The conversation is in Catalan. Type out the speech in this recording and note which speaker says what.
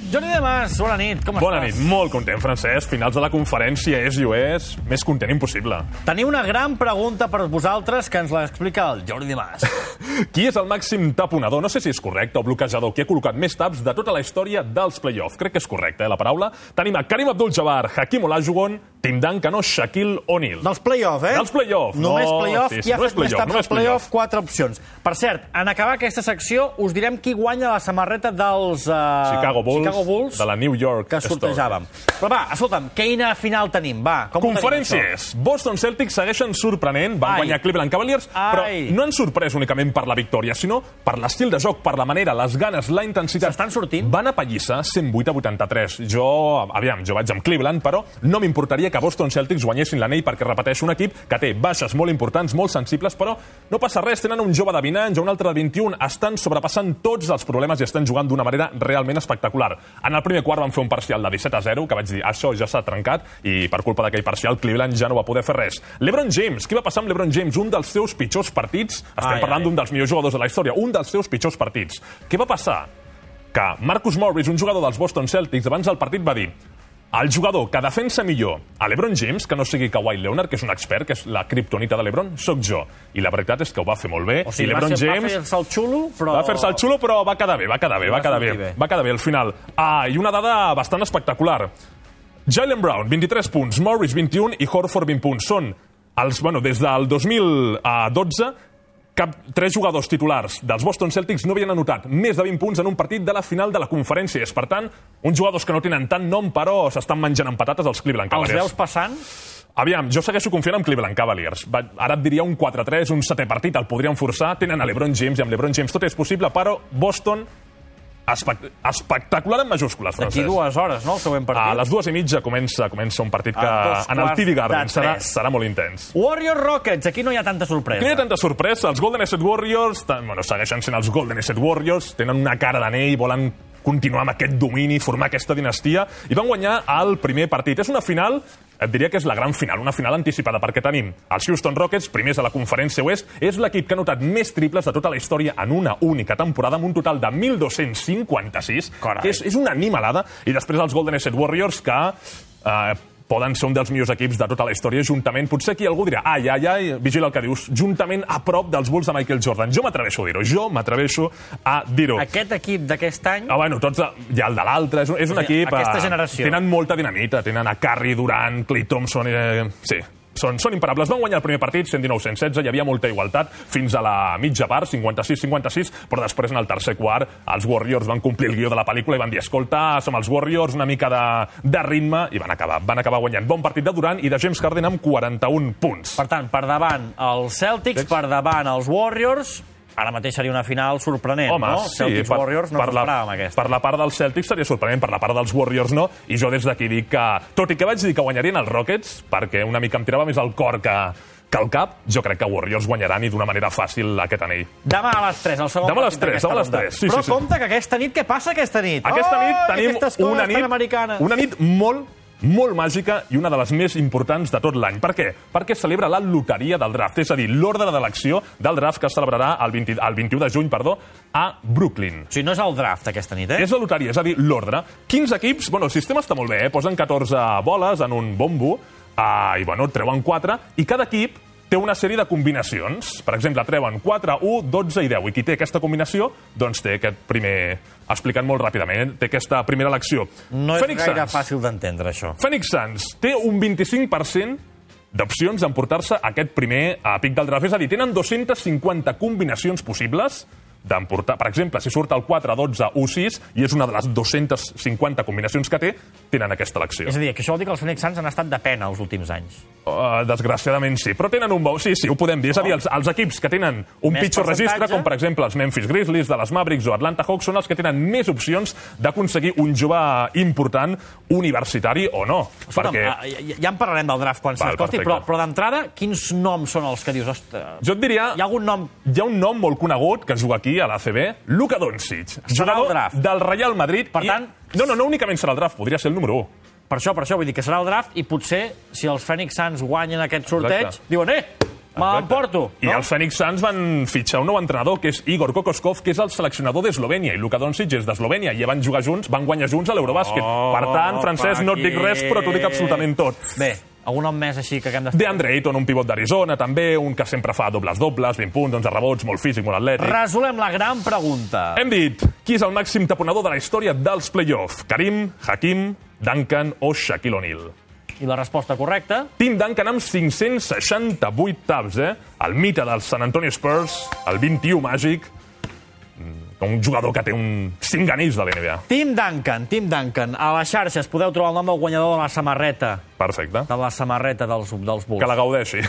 Speaker 1: Joni de Mas, bona nit, com
Speaker 2: Bona nit,
Speaker 1: estàs?
Speaker 2: molt content, Francesc. Finals de la conferència és i ho és. Més content impossible.
Speaker 1: Teniu una gran pregunta per vosaltres que ens l'explica el Jordi de Mas.
Speaker 2: Qui és el màxim taponador? No sé si és correcte o bloquejador. Qui ha col·locat més taps de tota la història dels play-offs? Crec que és correcte, eh, la paraula. Tenim a Karim Abdul-Jabbar, Hakim Olajuwon, Tim Duncan o Shaquille O'Neal.
Speaker 1: Dels play-off, eh?
Speaker 2: Dels play-off.
Speaker 1: Només
Speaker 2: No,
Speaker 1: play-off.
Speaker 2: sí, sí,
Speaker 1: Qui ha
Speaker 2: només
Speaker 1: fet més
Speaker 2: play-off,
Speaker 1: taps
Speaker 2: només
Speaker 1: als play-off? Quatre opcions. Per cert, en acabar aquesta secció us direm qui guanya la samarreta dels uh,
Speaker 2: Chicago, Bulls,
Speaker 1: Chicago Bulls
Speaker 2: de la New York
Speaker 1: que sortejàvem. Però va, escolta'm, quina final tenim? Va, com ho tenim, això?
Speaker 2: Conferències. Boston Celtics segueixen sorprenent, van
Speaker 1: Ai.
Speaker 2: guanyar Cleveland Cavaliers, però
Speaker 1: Ai.
Speaker 2: no han sorprès únicament per la victòria, sinó per l'estil de joc, per la manera, les ganes, la intensitat.
Speaker 1: S'estan sortint?
Speaker 2: Van a pallissa 108 a 83. Jo, aviam, jo vaig amb Cleveland, però no m'importaria que Boston Celtics guanyessin l'anell perquè repeteix un equip que té baixes molt importants, molt sensibles, però no passa res, tenen un jove de 20 anys, un altre de 21, estan sobrepassant tots els problemes i estan jugant d'una manera realment espectacular. En el primer quart van fer un parcial de 17 a 0, que vaig dir, això ja s'ha trencat, i per culpa d'aquell parcial Cleveland ja no va poder fer res. LeBron James, qui va passar amb LeBron James? Un dels seus pitjors partits, estem
Speaker 1: Ai, ai.
Speaker 2: parlant d'un dels millors jugadors de la història, un dels seus pitjors partits. Què va passar? que Marcus Morris, un jugador dels Boston Celtics, abans del partit va dir el jugador que defensa millor a l'Ebron James, que no sigui Kawhi Leonard, que és un expert, que és la kriptonita de l'Ebron, sóc jo. I la veritat és que ho va fer molt bé.
Speaker 1: O sigui,
Speaker 2: I l'Ebron
Speaker 1: va, ser,
Speaker 2: James...
Speaker 1: va fer-se el xulo, però...
Speaker 2: Va fer-se el xulo, però va quedar bé, va quedar bé, va,
Speaker 1: Va
Speaker 2: quedar
Speaker 1: sortir
Speaker 2: bé.
Speaker 1: bé.
Speaker 2: Va quedar bé al final. Ah, i una dada bastant espectacular. Jalen Brown, 23 punts, Morris, 21 i Horford, 20 punts. Són, els, bueno, des del 2012, cap tres jugadors titulars dels Boston Celtics no havien anotat més de 20 punts en un partit de la final de la conferència. És, per tant, uns jugadors que no tenen tant nom, però s'estan menjant amb patates els Cleveland
Speaker 1: Ah, Els
Speaker 2: Cavaliers.
Speaker 1: veus passant?
Speaker 2: Aviam, jo segueixo confiant en Cleveland Cavaliers. Va, ara et diria un 4-3, un setè partit, el podrien forçar. Tenen a l'Ebron James i amb l'Ebron James tot és possible, però Boston, espect espectacular en majúscules,
Speaker 1: Aquí
Speaker 2: Francesc.
Speaker 1: dues hores, no?, el següent partit.
Speaker 2: A les dues i mitja comença, comença un partit que
Speaker 1: A dos
Speaker 2: en el
Speaker 1: quarts
Speaker 2: TD Garden
Speaker 1: de
Speaker 2: serà,
Speaker 1: tres.
Speaker 2: serà molt intens.
Speaker 1: Warrior Rockets, aquí no hi ha tanta sorpresa.
Speaker 2: Aquí no hi ha tanta sorpresa. Els Golden State Warriors ta- bueno, segueixen sent els Golden State Warriors, tenen una cara d'anell, volen continuar amb aquest domini, formar aquesta dinastia, i van guanyar el primer partit. És una final, et diria que és la gran final, una final anticipada, perquè tenim els Houston Rockets, primers a la conferència oest, és l'equip que ha notat més triples de tota la història en una única temporada, amb un total de 1.256,
Speaker 1: Carai.
Speaker 2: que és, és una animalada, i després els Golden State Warriors, que eh, poden ser un dels millors equips de tota la història, juntament, potser aquí algú dirà, ai, ai, ai, vigila el que dius, juntament a prop dels Bulls de Michael Jordan. Jo m'atreveixo a dir-ho, jo m'atreveixo a dir-ho.
Speaker 1: Aquest equip d'aquest any...
Speaker 2: Ah, bueno, tots, i el de l'altre, és, un- és un
Speaker 1: O sigui,
Speaker 2: equip... eh,
Speaker 1: aquesta generació.
Speaker 2: Tenen molta dinamita, tenen a Curry, Durant, Clay Thompson... Eh, sí, són, són imparables. Van guanyar el primer partit, 119-116, hi havia molta igualtat fins a la mitja part, 56-56, però després en el tercer quart els Warriors van complir el guió de la pel·lícula i van dir, escolta, som els Warriors, una mica de, de ritme, i van acabar, van acabar guanyant. Bon partit de Durant i de James Harden amb 41 punts.
Speaker 1: Per tant, per davant els Celtics, per davant els Warriors... Ara mateix seria una final sorprenent,
Speaker 2: Home,
Speaker 1: no?
Speaker 2: sí,
Speaker 1: Celtics-Warriors no ens
Speaker 2: la-
Speaker 1: esperàvem, aquesta.
Speaker 2: Per la part dels Celtics seria sorprenent, per la part dels Warriors no, i jo des d'aquí dic que, tot i que vaig dir que guanyarien els Rockets, perquè una mica em tirava més el cor que, que el cap, jo crec que Warriors guanyaran i d'una manera fàcil aquest anell.
Speaker 1: Demà a les 3, el segon
Speaker 2: Demà a les
Speaker 1: partit
Speaker 2: 3,
Speaker 1: d'aquesta
Speaker 2: demà a les
Speaker 1: ronda.
Speaker 2: 3, sí,
Speaker 1: Però
Speaker 2: sí, sí.
Speaker 1: compte que aquesta nit, què passa aquesta nit?
Speaker 2: Aquesta
Speaker 1: oh,
Speaker 2: nit
Speaker 1: aquestes
Speaker 2: tenim
Speaker 1: coses
Speaker 2: una
Speaker 1: tan
Speaker 2: nit,
Speaker 1: americanes.
Speaker 2: una nit molt molt màgica i una de les més importants de tot l'any. Per què? Perquè celebra la loteria del draft, és a dir, l'ordre d'elecció del draft que es celebrarà el, 20, el 21 de juny perdó, a Brooklyn.
Speaker 1: O sigui, no és el draft aquesta nit, eh?
Speaker 2: És la loteria, és a dir, l'ordre. 15 equips, bueno, el sistema està molt bé, eh? posen 14 boles en un bombo, eh, i bueno, treuen 4, i cada equip té una sèrie de combinacions. Per exemple, treuen 4, 1, 12 i 10. I qui té aquesta combinació, doncs té aquest primer... Explicant molt ràpidament, eh? té aquesta primera elecció.
Speaker 1: No és
Speaker 2: Phoenix
Speaker 1: gaire
Speaker 2: Suns.
Speaker 1: fàcil d'entendre, això.
Speaker 2: Phoenix Suns té un 25% d'opcions d'emportar-se aquest primer a pic del draft. És a dir, tenen 250 combinacions possibles d'emportar. Per exemple, si surt el 4, 12, 1, 6, i és una de les 250 combinacions que té, tenen aquesta elecció.
Speaker 1: És a dir, que això vol dir que els Phoenix Suns han estat de pena els últims anys.
Speaker 2: Uh, desgraciadament sí, però tenen un bon... Sí, sí, ho podem dir. És a dir, els, els equips que tenen un
Speaker 1: Més
Speaker 2: pitjor registre,
Speaker 1: percentatge?
Speaker 2: com per exemple els Memphis Grizzlies, de les Mavericks o Atlanta Hawks, són els que tenen més opcions d'aconseguir un jove important, universitari o no.
Speaker 1: Escolta'm, ah, ja, ja en parlarem del draft quan
Speaker 2: Val,
Speaker 1: s'escolti,
Speaker 2: perfecte.
Speaker 1: però, però d'entrada, quins noms són els que dius? Ostres,
Speaker 2: Jo et diria...
Speaker 1: hi ha algun nom...
Speaker 2: Hi ha un nom molt conegut que juga aquí a l'ACB, Luka Doncic,
Speaker 1: al
Speaker 2: jugador
Speaker 1: draft.
Speaker 2: del Real Madrid.
Speaker 1: Per
Speaker 2: i-
Speaker 1: tant-
Speaker 2: No, no, no únicament serà el draft, podria ser el número 1.
Speaker 1: Per això, per això, vull dir que serà el draft i potser, si els Phoenix Suns guanyen aquest sorteig,
Speaker 2: Exacte.
Speaker 1: diuen, eh, Me l'emporto.
Speaker 2: I els Phoenix Suns van fitxar un nou entrenador, que és Igor Kokoskov, que és el seleccionador d'Eslovènia, i Luka Doncic és d'Eslovènia, i ja van jugar junts, van guanyar junts a l'Eurobàsquet.
Speaker 3: Oh,
Speaker 2: per tant, Francesc, no et dic res, però t'ho dic
Speaker 3: Paquet.
Speaker 2: absolutament tot.
Speaker 1: Bé, algun nom més així que haguem de fer?
Speaker 2: De Andre Ayton, un pivot d'Arizona, també, un que sempre fa dobles-dobles, 20 punts, 11 rebots, molt físic, molt atlètic.
Speaker 1: Resolem la gran pregunta.
Speaker 2: Hem dit qui és el màxim taponador de la història dels play-off. Karim, Hakim, Duncan o Shaquille O'Neal.
Speaker 1: I la resposta correcta?
Speaker 2: Tim Duncan amb 568 taps, eh? El mite dels San Antonio Spurs, el 21 màgic, mm, un jugador que té un 5 anells de l'NBA.
Speaker 1: Tim Duncan, Tim Duncan. A les xarxes podeu trobar el nom del guanyador de la samarreta,
Speaker 2: Perfecte.
Speaker 1: de la samarreta dels, dels Bulls.
Speaker 2: Que la gaudeixi.